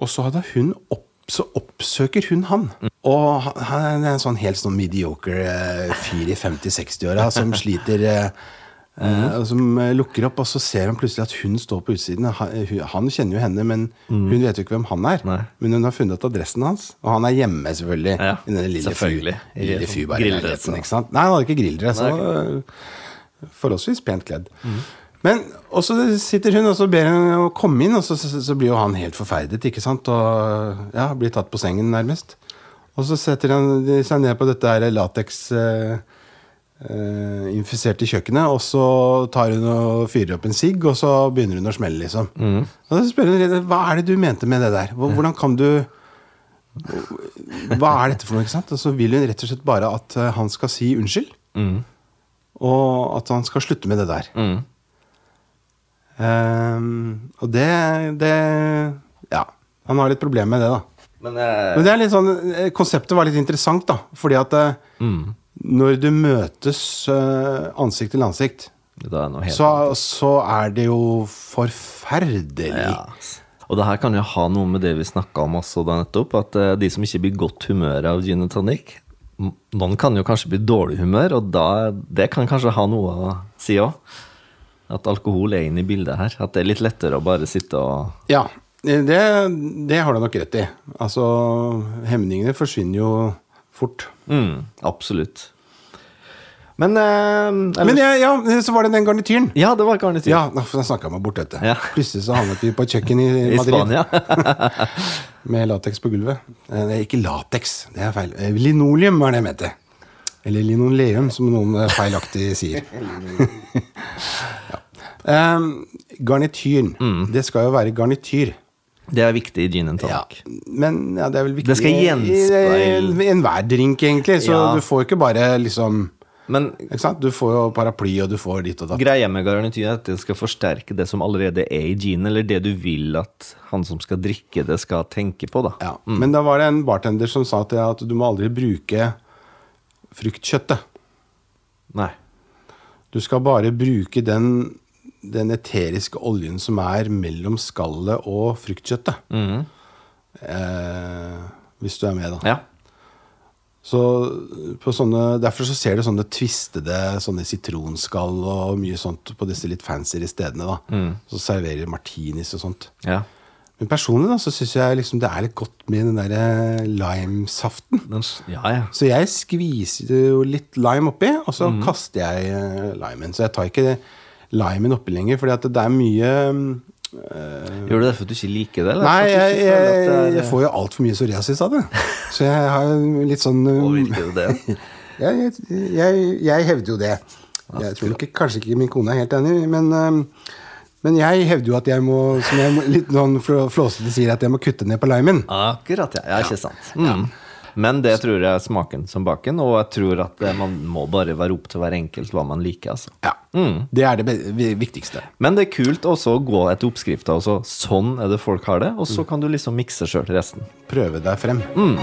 Speaker 2: Og så hadde hun opp, så oppsøker hun han.
Speaker 1: Mm.
Speaker 2: Og han- han er en sånn helt sånn mediocre eh, fyr i 50-60-åra som sliter eh, eh,
Speaker 1: Mm.
Speaker 2: og Som eh, lukker opp, og så ser han plutselig at hun står på utsiden. Han, eh, hun- han kjenner jo henne, men hun vet jo ikke hvem han er.
Speaker 1: Mm. Nei.
Speaker 2: Men hun har funnet adressen hans, og han er hjemme, selvfølgelig.
Speaker 1: Ja,
Speaker 2: I denne lille
Speaker 1: selvfølgelig.
Speaker 2: fyr- Lille
Speaker 1: I grilldressen,
Speaker 2: fyrbarheten,
Speaker 1: da.
Speaker 2: ikke sant? Nei, han hadde ikke grilldress.
Speaker 1: Nei,
Speaker 2: Han var, eh, forholdsvis pent kledd. Men og så sitter hun, og så ber hun å komme inn, og så, så, så blir jo han helt forferdet. ikke sant? Og ja, blir tatt på sengen, nærmest. Og så setter han de seg ned på dette lateks-infiserte eh, kjøkkenet, og så tar hun og fyrer opp en sigg, og så begynner hun å smelle, liksom. Og så spør hun redd, hva er det du mente med det der. Hvor- Hvordan kan du Hva er dette for noe? ikke sant? Og så vil hun rett og slett bare at eh, han skal si unnskyld. Og at han skal slutte med det der.
Speaker 1: Mm.
Speaker 2: Ehm, og det, det Ja. Han har litt problemer med det, da.
Speaker 1: Men, eh,
Speaker 2: Men det er litt sånn, eh, konseptet var litt interessant, da. Fordi at eh,
Speaker 1: Mm.
Speaker 2: når du møtes eh, ansikt til ansikt,
Speaker 1: det er noe helt
Speaker 2: så, så er det jo forferdelig.
Speaker 1: Ja. Og det her kan jo ha noe med det vi snakka om også da nettopp, at eh, de som ikke blir i godt humør av gin og tonic m- Noen kan jo kanskje bli i dårlig humør, og da, det kan kanskje ha noe å si òg. At alkohol er inne i bildet her. At det er litt lettere å bare sitte og
Speaker 2: Ja, det, det har du nok rett i. Altså, hemningene forsvinner jo fort.
Speaker 1: mm, Absolutt. Men eh, ellers,
Speaker 2: Men jeg, ja, så var det den garnityren.
Speaker 1: Ja, det var garnityr.
Speaker 2: Ja, nå snakka jeg meg bort, vet du.
Speaker 1: Ja.
Speaker 2: Plutselig så havnet vi på et kjøkken i
Speaker 1: I
Speaker 2: Madrid
Speaker 1: Spania.
Speaker 2: med lateks på gulvet. Eh, Nei, ikke lateks, det er feil. Eh, Linoleum var det jeg mente. Eller linoleum, som noen eh, feilaktig sier. ja. Em, garnityren.
Speaker 1: Mm.
Speaker 2: Det skal jo være garnityr.
Speaker 1: Det er viktig i gin and
Speaker 2: Ja.
Speaker 1: tonic.
Speaker 2: Men ja, det er vel viktig
Speaker 1: Det skal gjenspeile-
Speaker 2: i- i Enhver drink, egentlig. Så
Speaker 1: Ja.
Speaker 2: du får ikke bare liksom
Speaker 1: Men
Speaker 2: ikke sant? Du får jo paraply, og du får ditt og datt.
Speaker 1: Greia med garnityr er at det skal forsterke det som allerede er i ginen, eller det du vil at han som skal drikke det, skal tenke på, da.
Speaker 2: Ja. Men da var det en bartender som sa til deg at du må aldri bruke fruktkjøttet.
Speaker 1: Nei.
Speaker 2: Du skal bare bruke den, den eteriske oljen som er mellom skallet og fruktkjøttet. Eh, hvis du er med, da.
Speaker 1: Ja.
Speaker 2: Så på sånne, derfor så ser du sånne tvistede sånne sitronskall og mye sånt på disse litt fancyere stedene. da. Så serverer martinis og sånt.
Speaker 1: ja.
Speaker 2: Men personlig da, så syns jeg liksom det er litt godt med den der eh, limesaften.
Speaker 1: Den, s- ja, ja.
Speaker 2: Så jeg skviser jo litt lime oppi, og så
Speaker 1: Mhm.
Speaker 2: kaster jeg eh, limen. Så jeg tar ikke limen oppi lenger, fordi at det er mye mm,
Speaker 1: Gjør du det for at du ikke liker det? Eller?
Speaker 2: Nei,
Speaker 1: For at
Speaker 2: jeg,
Speaker 1: du ikke
Speaker 2: jeg,
Speaker 1: føler at det
Speaker 2: jeg
Speaker 1: er-
Speaker 2: får jo altfor mye psoriasis av det. Så jeg har jo litt sånn eh,
Speaker 1: Påvirker det det?
Speaker 2: jeg, jeg, jeg hevder jo det. Jeg tror nok ikke, kanskje ikke min kone er helt enig, men, øhm, men jeg hevder jo at jeg må, som jeg må- litt noen flå- flåsete sier, at jeg må kutte ned på limen.
Speaker 1: Akkurat, ja. ja ikke sant. Mm. Men det tror jeg er smaken som baken, og jeg tror at eh, man må bare være opp til hver enkelt hva man liker, altså.
Speaker 2: Ja. Mm. Det er det be- vi- viktigste.
Speaker 1: Men det er kult også å gå etter oppskrifta. også. Sånn er det folk har det, og så
Speaker 2: Mm.
Speaker 1: kan du liksom mikse sjøl resten.
Speaker 2: Prøve deg frem.
Speaker 1: Mm.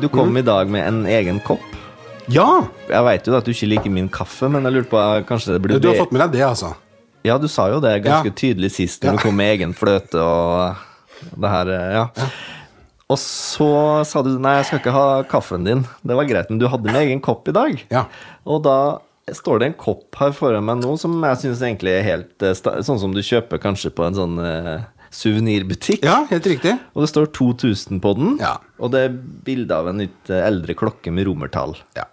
Speaker 1: Du
Speaker 2: Mm.
Speaker 1: kom i dag med en egen kopp.
Speaker 2: Ja!
Speaker 1: Jeg veit jo at du ikke liker min kaffe, men jeg lurte på eh, kanskje det
Speaker 2: Du,
Speaker 1: blir
Speaker 2: har fått med deg det, altså.
Speaker 1: Ja, du sa jo det ganske
Speaker 2: Ja.
Speaker 1: tydelig sist når du kom med egen fløte og eh, det her, eh, ja. Og så sa du nei, jeg skal ikke ha kaffen din. Det var greit, men du hadde med egen kopp i dag.
Speaker 2: Ja.
Speaker 1: Og da står det en kopp her foran meg nå som jeg syns egentlig er helt eh, sta- Sånn som du kjøper kanskje på en sånn eh, suvenirbutikk.
Speaker 2: Ja, helt riktig.
Speaker 1: Og det står 2000 på den.
Speaker 2: Ja.
Speaker 1: Og det er bilde av en litt eh, eldre klokke med romertall.
Speaker 2: Ja.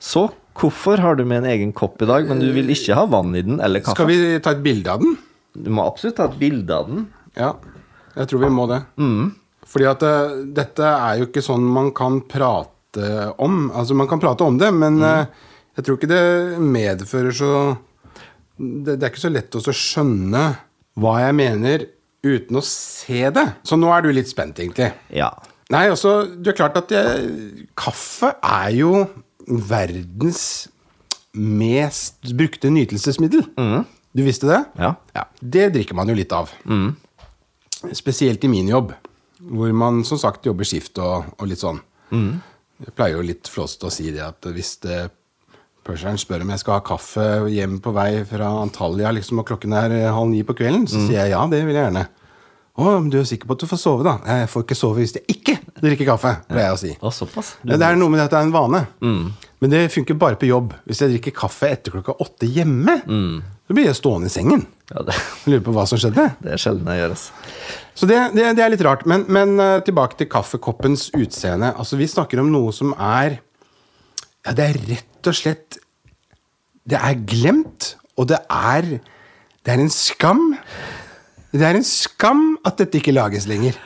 Speaker 1: Så hvorfor har du med en egen kopp i dag, men du vil ikke ha vann i den eller
Speaker 2: Skal
Speaker 1: kaffe?
Speaker 2: vi ta et bilde av den?
Speaker 1: Du må absolutt ha et bilde av den.
Speaker 2: Ja, jeg tror vi må det. Fordi at eh, dette er jo ikke sånn man kan prate om. Altså, man kan prate om det, men eh, jeg tror ikke det medfører så det, det er ikke så lett også å skjønne hva jeg mener uten å se det. Så nå er du litt spent, egentlig.
Speaker 1: Ja.
Speaker 2: Nei, altså, det er klart at jeg, kaffe er jo verdens mest brukte nytelsesmiddel. Du visste det?
Speaker 1: Ja.
Speaker 2: Det drikker man jo litt av. Spesielt i min jobb, hvor man som sagt jobber skift og, og litt sånn. Jeg pleier jo litt flåsete å si det at hvis det Pusheren spør om jeg skal ha kaffe hjem på vei fra Antalya, liksom, og klokken er halv ni på kvelden, så sier jeg ja, det vil jeg gjerne. Å, men du er sikker på at du får sove, da? Jeg får ikke sove hvis jeg ikke drikker kaffe, pleier jeg å si.
Speaker 1: Og såpass. Du,
Speaker 2: Ja, Det er noe med at det er en vane. Men det funker bare på jobb. Hvis jeg drikker kaffe etter klokka åtte hjemme, så blir jeg stående i sengen.
Speaker 1: ja, det,
Speaker 2: Jeg lurer på hva som skjedde.
Speaker 1: det er sjelden jeg gjør, altså.
Speaker 2: Så det, det, det er litt rart. Men, men eh, tilbake til kaffekoppens utseende. Altså, vi snakker om noe som er Ja, det er rett og slett Det er glemt, og det er Det er en skam. Det er en skam at dette ikke lages lenger.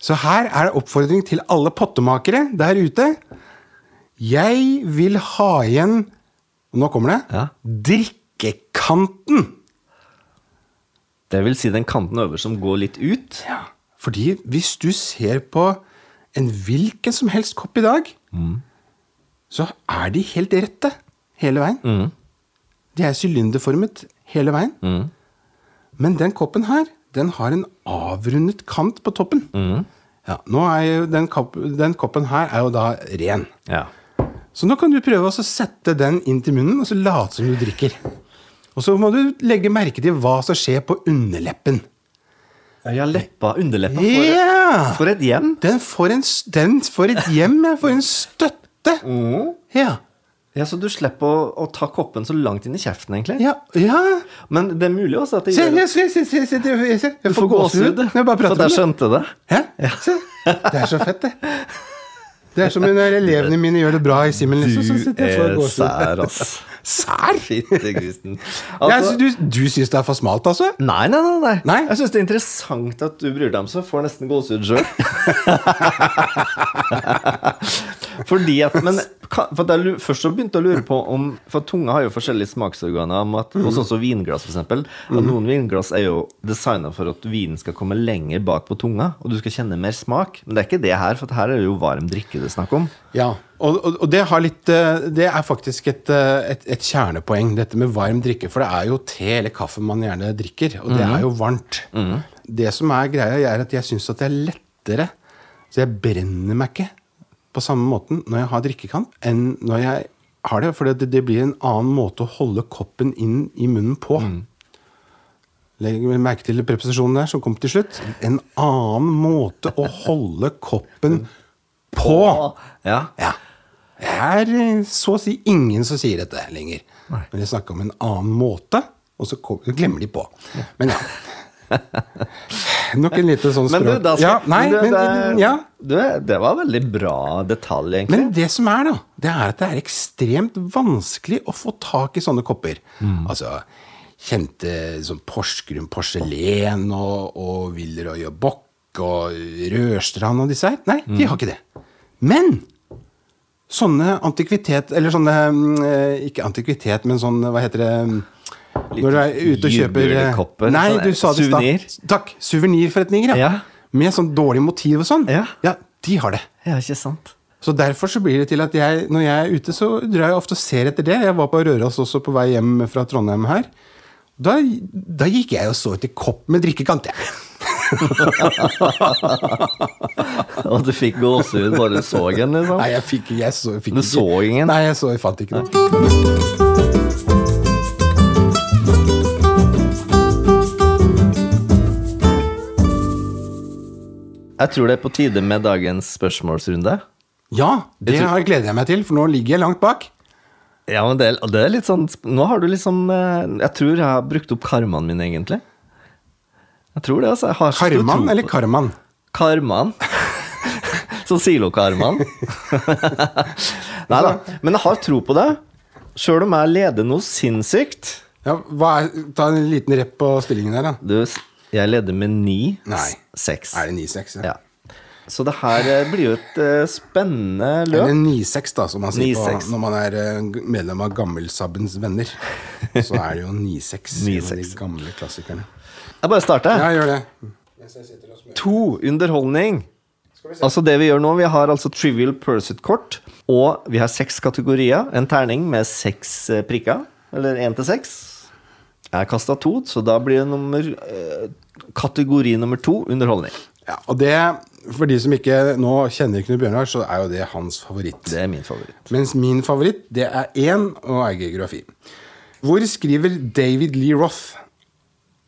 Speaker 2: Så her er det oppfordring til alle pottemakere der ute. Jeg vil ha igjen og Nå kommer det.
Speaker 1: Ja.
Speaker 2: Drikkekanten!
Speaker 1: Det vil si den kanten over som går litt ut.
Speaker 2: Ja, fordi hvis du ser på en hvilken som helst kopp i dag, så er de helt rette hele veien. De er sylinderformet hele veien. Men den koppen her, den har en avrundet kant på toppen. Ja, nå er jo den, kopp, den koppen her er jo da ren.
Speaker 1: Ja.
Speaker 2: Så nå kan du prøve å sette den inn til munnen og så late som du drikker. Og så må du legge merke til hva som skjer på underleppen.
Speaker 1: Ja, leppa, underleppa. For,
Speaker 2: Ja!
Speaker 1: for et hjem.
Speaker 2: Den får, en, s- den får et hjem, jeg. For en støtte. Ja.
Speaker 1: Mm. Ja, Så du slipper å, å ta koppen så langt inn i kjeften, egentlig.
Speaker 2: Ja. ja.
Speaker 1: Men det er mulig også at det
Speaker 2: Se,
Speaker 1: gjør
Speaker 2: se, se, se, se, se, se, se.
Speaker 1: Du
Speaker 2: Jeg
Speaker 1: får gåsehud.
Speaker 2: Når jeg bare
Speaker 1: For at jeg
Speaker 2: prater om det.
Speaker 1: skjønte det.
Speaker 2: Hæ? Se. Det er så fett, det. Det er som når elevene mine gjør det bra i simen. Liksom, så sitter jeg og får
Speaker 1: Du er
Speaker 2: gåsehud.
Speaker 1: sær, ass.
Speaker 2: Sær?
Speaker 1: Fittegrisen.
Speaker 2: Ja,
Speaker 1: Altså,
Speaker 2: så du du syns det er for smalt, altså?
Speaker 1: Nei, nei, nei. nei.
Speaker 2: Nei?
Speaker 1: Jeg syns det er interessant at du bryr deg om så får nesten gåsehud sjøl. Fordi at Men ka- for at jeg, lu- først så begynte jeg å lure på om For tunga har jo forskjellige smaksorganer, om at, og sånn som vinglass, f.eks.
Speaker 2: Mhm.
Speaker 1: At noen vinglass er jo designa for at vinen skal komme lenger bak på tunga, og du skal kjenne mer smak. Men det er ikke det her, for her er det jo varm drikke det er snakk om.
Speaker 2: Ja, og, og, og det, har litt, eh, det er faktisk et, eh, et, et kjernepoeng, dette med varm drikke. For det er jo te eller kaffe man gjerne drikker, og det er jo varmt. Det som er greia, er at jeg syns at det er lettere, så jeg brenner meg ikke på samme måten når jeg har drikkekant, enn når jeg har det. For det, det blir en annen måte å holde koppen inn i munnen på. Legg merke til preposisjonen der som kom til slutt. En annen måte å holde koppen på.
Speaker 1: Ja.
Speaker 2: Ja. Det er eh, så å si ingen som sier dette lenger. Men de snakker om en annen måte, og så kom, glemmer de på. Men ja. Nok en liten sånn
Speaker 1: Men du,
Speaker 2: språk.
Speaker 1: da skal,
Speaker 2: ja, nei,
Speaker 1: men du,
Speaker 2: men,
Speaker 1: det,
Speaker 2: ja.
Speaker 1: du, det var veldig bra detalj, egentlig.
Speaker 2: men det som er, da, det er at det er ekstremt vanskelig å få tak i sånne kopper.
Speaker 1: Mm.
Speaker 2: Altså kjente sånn Porsgrunn porselen og, og Wilroy og Bock og Rørstrand og disse her. Nei,
Speaker 1: Mm.
Speaker 2: de har ikke det. Men Sånne antikvitet, eller sånne mm, eh, Ikke antikvitet, men sånn, hva heter det mm,
Speaker 1: Litt
Speaker 2: Når du er ute og kjøper eh,
Speaker 1: julekopper,
Speaker 2: Nei,
Speaker 1: sånn,
Speaker 2: du sa det i stad.
Speaker 1: suvenir.
Speaker 2: Takk. Suvenirforretninger, ja.
Speaker 1: Ja.
Speaker 2: Med sånn dårlig motiv og sånn.
Speaker 1: Ja.
Speaker 2: de har det.
Speaker 1: Ja, ikke sant?
Speaker 2: Så derfor så blir det til at jeg, når jeg er ute, så drar jeg ofte og ser etter det. Jeg var på Røros også på vei hjem fra Trondheim her. Da, da gikk jeg og så etter kopp med drikkekant, jeg.
Speaker 1: Og du fikk gåsehud bare du så den, liksom?
Speaker 2: Nei, jeg fikk, jeg så, fikk
Speaker 1: Du
Speaker 2: ikke-
Speaker 1: så ingen?
Speaker 2: Nei, jeg, så, jeg fant ikke det.
Speaker 1: Jeg tror det er på tide med dagens spørsmålsrunde.
Speaker 2: Ja, det
Speaker 1: tror-
Speaker 2: her gleder jeg meg til, for nå ligger jeg langt bak.
Speaker 1: Ja, men det, er- det er litt sånn Nå har du liksom eh, Jeg tror jeg har brukt opp karmaen min, egentlig. Jeg tror det, altså. Jeg har så stor tro
Speaker 2: Karman
Speaker 1: på-
Speaker 2: eller Karman?
Speaker 1: Karman. Sånn silokarman. Nei da. Men jeg har tro på det. Sjøl om jeg leder noe sinnssykt.
Speaker 2: Ja, hva er, ta en liten rep på stillingen der, da.
Speaker 1: Du, jeg leder med ni
Speaker 2: Nei.
Speaker 1: seks.
Speaker 2: Er det 9-6?
Speaker 1: Ja. Så det her eh, blir jo et eh, spennende
Speaker 2: Eller
Speaker 1: løp.
Speaker 2: 9-6, da, som man sier på,
Speaker 1: 9-6.
Speaker 2: når man er eh, medlem av Gammelsabbens venner. Så er det jo 9-6. en av De
Speaker 1: 9-6.
Speaker 2: gamle klassikerne.
Speaker 1: Jeg bare starter.
Speaker 2: Ja, gjør det.
Speaker 1: To underholdning. Altså det Vi gjør nå, vi har altså Trivial Pursuit-kort, og vi har seks kategorier. En terning med seks eh, prikker. Eller én til seks. Jeg kasta to, så da blir det nummer, eh, kategori nummer to underholdning.
Speaker 2: Ja, og det, for de som ikke nå kjenner Knut Bjørnar, så er jo det hans favoritt.
Speaker 1: Det er min favoritt.
Speaker 2: Mens min favoritt, det er én, og er geografi. Hvor skriver David Lee Roth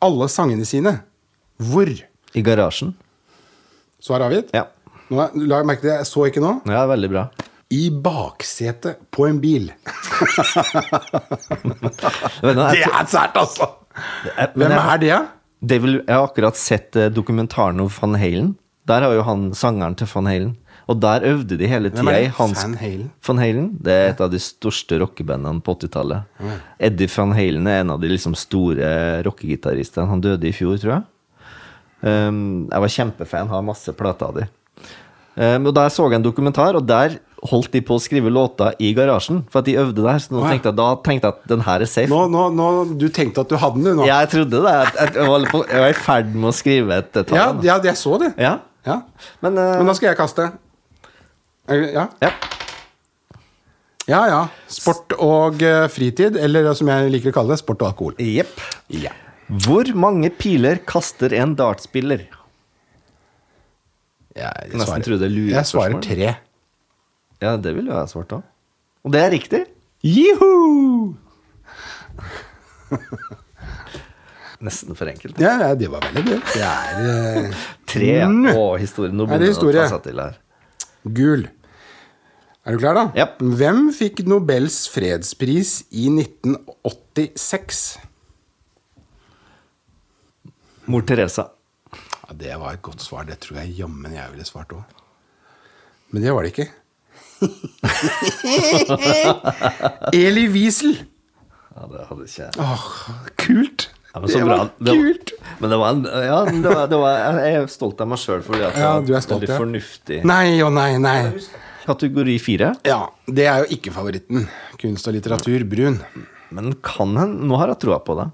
Speaker 2: alle sangene sine? Hvor?
Speaker 1: I garasjen.
Speaker 2: Svar avgitt?
Speaker 1: Ja.
Speaker 2: Nå, er- la merke til, jeg så ikke nå.
Speaker 1: ja veldig bra.
Speaker 2: I baksetet på en bil.
Speaker 1: Vet du hva, jeg
Speaker 2: Det er sært, altså!
Speaker 1: Jeg- men
Speaker 2: Hvem
Speaker 1: jeg-
Speaker 2: er det, da?
Speaker 1: Det vil, jeg har akkurat sett eh, dokumentaren om Van Halen. Der har jo han sangeren til Van Halen. Og der øvde de hele
Speaker 2: Hvem er
Speaker 1: tida i
Speaker 2: det?
Speaker 1: hans
Speaker 2: Van Halen?
Speaker 1: Van Halen, Det er et av de største rockebandene på 80-tallet. Eddie Van Halen er en av de liksom store rockegitaristene. Han døde i fjor, tror jeg. Um, jeg var kjempefan, har masse plater av de. Um, og der så jeg en dokumentar, og der holdt de på å skrive låter i garasjen. For at de øvde der. Så nå
Speaker 2: Å, ja.
Speaker 1: tenkte jeg, da tenkte jeg at den her er safe.
Speaker 2: Nå, nå, nå, du tenkte at du hadde den, du nå.
Speaker 1: Jeg trodde det. at- at Jeg var, på, jeg var i ferd med å skrive et eh, tall.
Speaker 2: ja,
Speaker 1: da.
Speaker 2: ja, jeg så det.
Speaker 1: Ja.
Speaker 2: Ja.
Speaker 1: Men, eh,
Speaker 2: Men da skal jeg kaste. Er- Ja,
Speaker 1: ja.
Speaker 2: ja. ja. Sport og eh, fritid, eller som jeg liker å kalle det, sport og alkohol.
Speaker 1: Jepp. Hvor mange piler kaster en dartspiller?
Speaker 2: Jeg,
Speaker 1: Nesten trodde det lurer
Speaker 2: jeg svarer
Speaker 1: spørsmål.
Speaker 2: tre.
Speaker 1: Ja, det ville jeg ha svart òg. Og det er riktig.
Speaker 2: Juhu!
Speaker 1: Nesten for enkelt.
Speaker 2: Ja, ja, det var veldig gøy. Det er eh,
Speaker 1: Tre ja. og historie. Nå
Speaker 2: Er
Speaker 1: begynner
Speaker 2: det
Speaker 1: det å ta
Speaker 2: historie?
Speaker 1: seg til her.
Speaker 2: gul. Er du klar, da?
Speaker 1: Japp.
Speaker 2: Hvem fikk Nobels fredspris i 1986?
Speaker 1: Mor Teresa.
Speaker 2: Ja, det var et godt svar. Det tror jeg jammen jeg ville svart òg. Men det var det ikke. Eli Wiesel.
Speaker 1: Ja, det hadde ikke jeg.
Speaker 2: Åh, kult!
Speaker 1: Ja, men så bra. Det var-
Speaker 2: kult!
Speaker 1: Men det var, en, ja, men det var, det var Jeg er stolt av meg sjøl fordi at
Speaker 2: Ja,
Speaker 1: jeg
Speaker 2: du er stolt,
Speaker 1: veldig
Speaker 2: ja.
Speaker 1: fornuftig.
Speaker 2: Nei og nei, nei.
Speaker 1: Kategori fire.
Speaker 2: Ja, det er jo ikke favoritten. Kunst og litteratur, brun.
Speaker 1: Men kan hen Nå har jeg troa på det.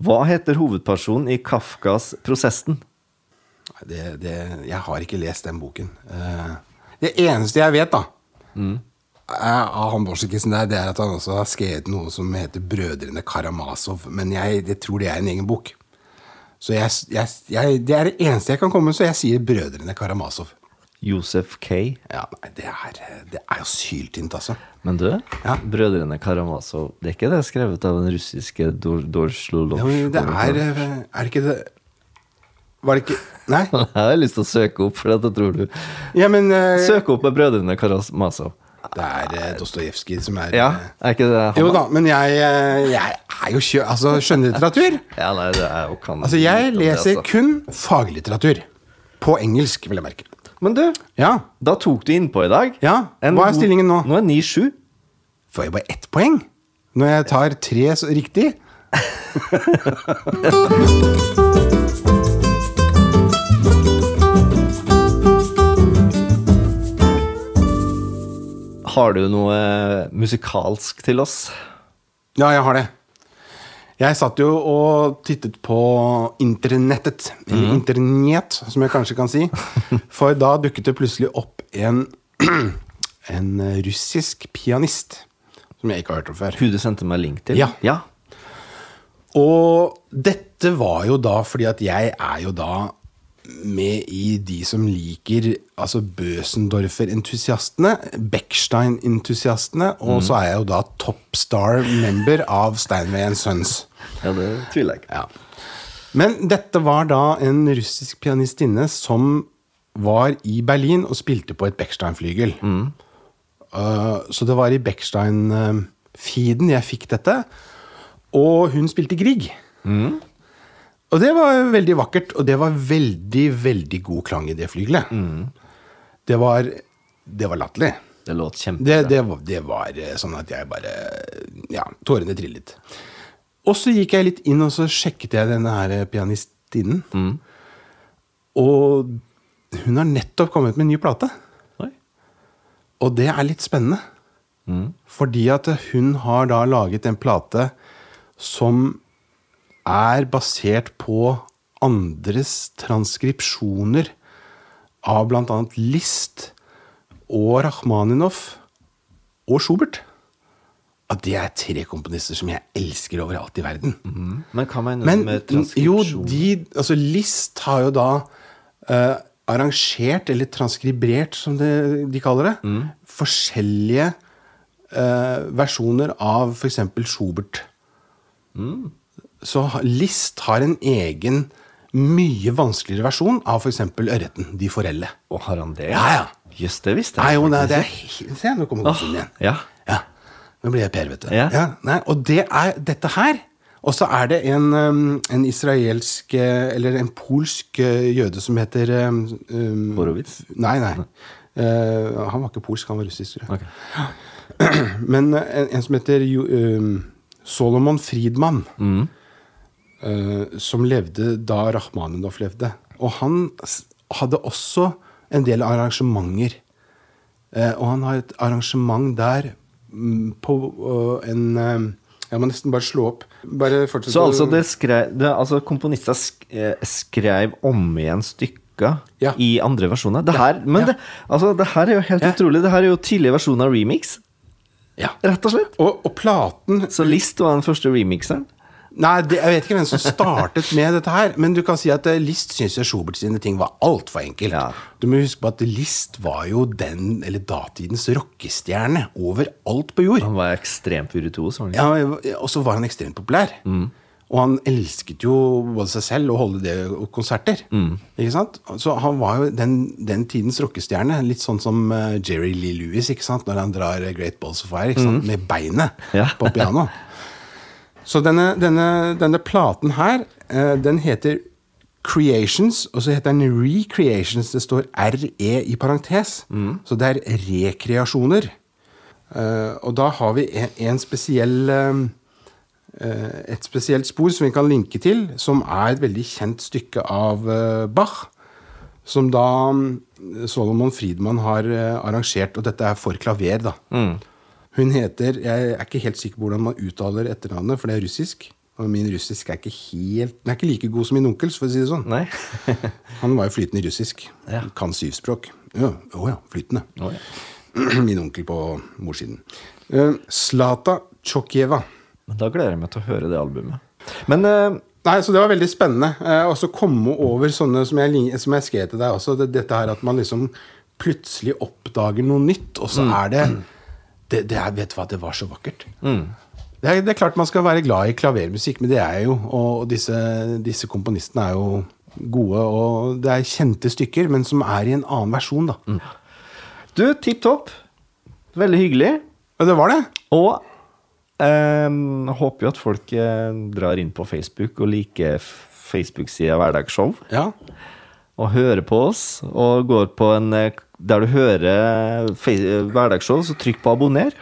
Speaker 1: Hva heter hovedpersonen i Kafkas 'Prosessen'?
Speaker 2: Nei, Det, det, jeg har ikke lest den boken. Eh, Det eneste jeg vet, da, Mm. er av han Borsikinsen der, det er at han også har skrevet noe som heter 'Brødrene Karamazov'. Men jeg, jeg tror det er en egen bok. Så jeg, jeg, jeg, det er det eneste jeg kan komme med, så jeg sier 'Brødrene Karamazov'.
Speaker 1: Josef K.
Speaker 2: Ja, nei, det er, det er jo syltynt, altså.
Speaker 1: Men du,
Speaker 2: Ja.
Speaker 1: Brødrene Karamazov Det er ikke det skrevet av den russiske Dor Dorslolov?
Speaker 2: Ja, men Det er, eh, er det ikke det Var det ikke Nei?
Speaker 1: Jeg har lyst til å søke opp, for dette tror du.
Speaker 2: Ja, men eh,
Speaker 1: Søk opp med Brødrene Karamazov.
Speaker 2: Det er eh, Dostojevskij som er
Speaker 1: Ja,
Speaker 2: eh,
Speaker 1: er ikke det han
Speaker 2: Jo da, men jeg, eh, jeg er jo kjø... Altså, skjønnlitteratur.
Speaker 1: Ja, nei, det er jo kan
Speaker 2: Altså,
Speaker 1: lite om
Speaker 2: jeg
Speaker 1: det,
Speaker 2: leser
Speaker 1: altså.
Speaker 2: kun faglitteratur. På engelsk, vil jeg merke.
Speaker 1: Men du,
Speaker 2: Ja.
Speaker 1: da tok du innpå i dag.
Speaker 2: Ja, hva er
Speaker 1: god-
Speaker 2: stillingen nå?
Speaker 1: Nå er 9-7.
Speaker 2: Får jeg bare ett poeng når jeg tar tre s- riktig?
Speaker 1: Har du noe eh, musikalsk til oss?
Speaker 2: Ja, jeg har det. Jeg satt jo og tittet på internettet, eller
Speaker 1: Mm.
Speaker 2: internet, som jeg kanskje kan si. For da dukket det plutselig opp en, en eh, russisk pianist som jeg ikke har hørt om før.
Speaker 1: Hun du sendte meg link til?
Speaker 2: Ja.
Speaker 1: ja.
Speaker 2: Og dette var jo da fordi at jeg er jo da med i de som liker altså Bøsendorfer-entusiastene, Beckstein-entusiastene, og så er jeg jo da Topstar-member av Steinway Sons.
Speaker 1: Ja, det tviler jeg ikke.
Speaker 2: Ja. Men dette var da en russisk pianistinne som var i Berlin og spilte på et Beckstein-flygel. Uh, så det var i Beckstein-feeden jeg fikk dette. Og hun spilte Grieg. Og det var veldig vakkert, og det var veldig, veldig god klang i det flygelet. Det var, det var latterlig.
Speaker 1: Det låt kjempe...
Speaker 2: Det, det, var- det var eh, sånn at jeg bare eh, Ja, tårene trillet. Og så gikk jeg litt inn, og så sjekket jeg denne her eh, pianistinnen. Og hun har nettopp kommet med en ny plate.
Speaker 1: Oi.
Speaker 2: Og det er litt spennende. Fordi at hun har da laget en plate som er basert på andres transkripsjoner av bl.a. List og Rakhmaninov og Schubert. At det er tre komponister som jeg elsker overalt i verden.
Speaker 1: Men hva mener du
Speaker 2: Men
Speaker 1: med
Speaker 2: jo,
Speaker 1: transkripsjon?
Speaker 2: de Altså, List har jo da eh, arrangert, eller transkribrert, som det, de kaller det, forskjellige eh, versjoner av f.eks. Schubert. Så ha- List har en egen, mye vanskeligere versjon av f.eks. Ørreten, De forelle.
Speaker 1: Å, har han det?
Speaker 2: Ja, ja.
Speaker 1: Jøss, det visste
Speaker 2: Nei,
Speaker 1: jeg
Speaker 2: jo, nei,
Speaker 1: faktisk
Speaker 2: det er helt Se, nå kommer godsen igjen.
Speaker 1: Ja.
Speaker 2: Ja. Nå blir jeg Per, vet du.
Speaker 1: Ja.
Speaker 2: nei, og det er dette her. Og så er det en, um, en israelsk eh, Eller en polsk eh, jøde som heter um, um,
Speaker 1: Horowitz?
Speaker 2: Nei, nei. Eh, han var ikke polsk, han var russisk, tror jeg.
Speaker 1: Ok.
Speaker 2: Men eh, en, en som heter jo, um, Solomon Friedmann,
Speaker 1: Mm.
Speaker 2: eh, som levde da Rachmaninoff levde. Og han s- hadde også en del arrangementer. Eh, og han har et arrangement der mm, på eh, en eh, Jeg må nesten bare slå opp. Bare fortsett.
Speaker 1: Så
Speaker 2: å-
Speaker 1: altså, det skrev, det, altså komponister sk, eh, skrev om igjen stykker
Speaker 2: Ja.
Speaker 1: i andre versjoner. Det her, men Det, altså, det her er jo helt
Speaker 2: Ja.
Speaker 1: utrolig. Det her er jo tidlig versjon av remix,
Speaker 2: ja.
Speaker 1: rett og slett.
Speaker 2: og, og platen
Speaker 1: Så List var den første remixeren.
Speaker 2: Nei, det, jeg vet ikke hvem som startet med dette her, men du kan si at eh, List syntes jo Schubert sine ting var altfor enkelt.
Speaker 1: Ja.
Speaker 2: Du må huske på at List var jo den, eller datidens rockestjerne overalt på jord.
Speaker 1: Han var ekstremt virtuos. var han ikke?
Speaker 2: Ja, og så var han ekstremt populær. Og han elsket jo både seg selv og holde det og konserter. Ikke sant? Så han var jo den, den tidens rockestjerne. Litt sånn som eh, Jerry Lee Lewis ikke sant? når han drar eh, Great Balls of Fire ikke sant? med beinet
Speaker 1: Ja.
Speaker 2: på piano. Så denne, denne, denne platen her, eh, den heter Creations, og så heter den Recreations. Det står RE i parentes. Så det er rekreasjoner. Eh, og da har vi en, en spesiell eh, eh, Et spesielt spor som vi kan linke til, som er et veldig kjent stykke av eh, Bach. Som da mm, Solomon Friedmann har eh, arrangert, og dette er for klaver, da.
Speaker 1: Mm.
Speaker 2: Hun heter Jeg er ikke helt sikker på hvordan man uttaler etternavnet, for det er russisk. Og min russisk er ikke helt Den er ikke like god som min onkels, for å si det sånn.
Speaker 1: Nei?
Speaker 2: Han var jo flytende i russisk.
Speaker 1: Ja.
Speaker 2: Kan syv språk. Å ja, å ja, flytende.
Speaker 1: Å ja.
Speaker 2: Min onkel på morssiden. Eh, Zlata Tsjokjeva.
Speaker 1: Men da gleder jeg meg til å høre det albumet. Men eh,
Speaker 2: Nei, så det var veldig spennende. Eh, Og så komme over sånne som jeg, li- som jeg skrev til deg også. det- Dette her at man liksom plutselig oppdager noe nytt, og så er det det, det er, Vet du hva, det var så vakkert. Det, er, det er klart man skal være glad i klavermusikk, men det er jeg jo. Og disse, disse komponistene er jo gode, og det er kjente stykker, men som er i en annen versjon, da.
Speaker 1: du, tipp topp. Veldig hyggelig.
Speaker 2: Ja, det var det.
Speaker 1: Og ehm, håper jo at folk eh, drar inn på Facebook og liker f- Facebook-sida Hverdagsshow.
Speaker 2: Ja.
Speaker 1: Og hører på oss. Og går på en eh, Der du hører fe- eh, Hverdagsshow, så trykk på abonner.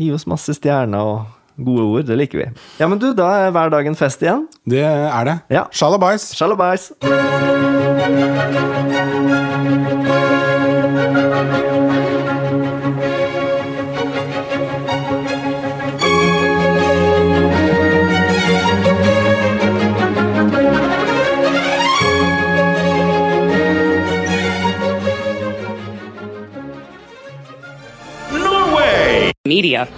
Speaker 1: Gi oss masse stjerner og gode ord. Det liker vi. Ja, men du, da er hver dag en fest igjen.
Speaker 2: Det er det.
Speaker 1: Ja.
Speaker 2: Shalabais.
Speaker 1: Shalabais!
Speaker 3: Media.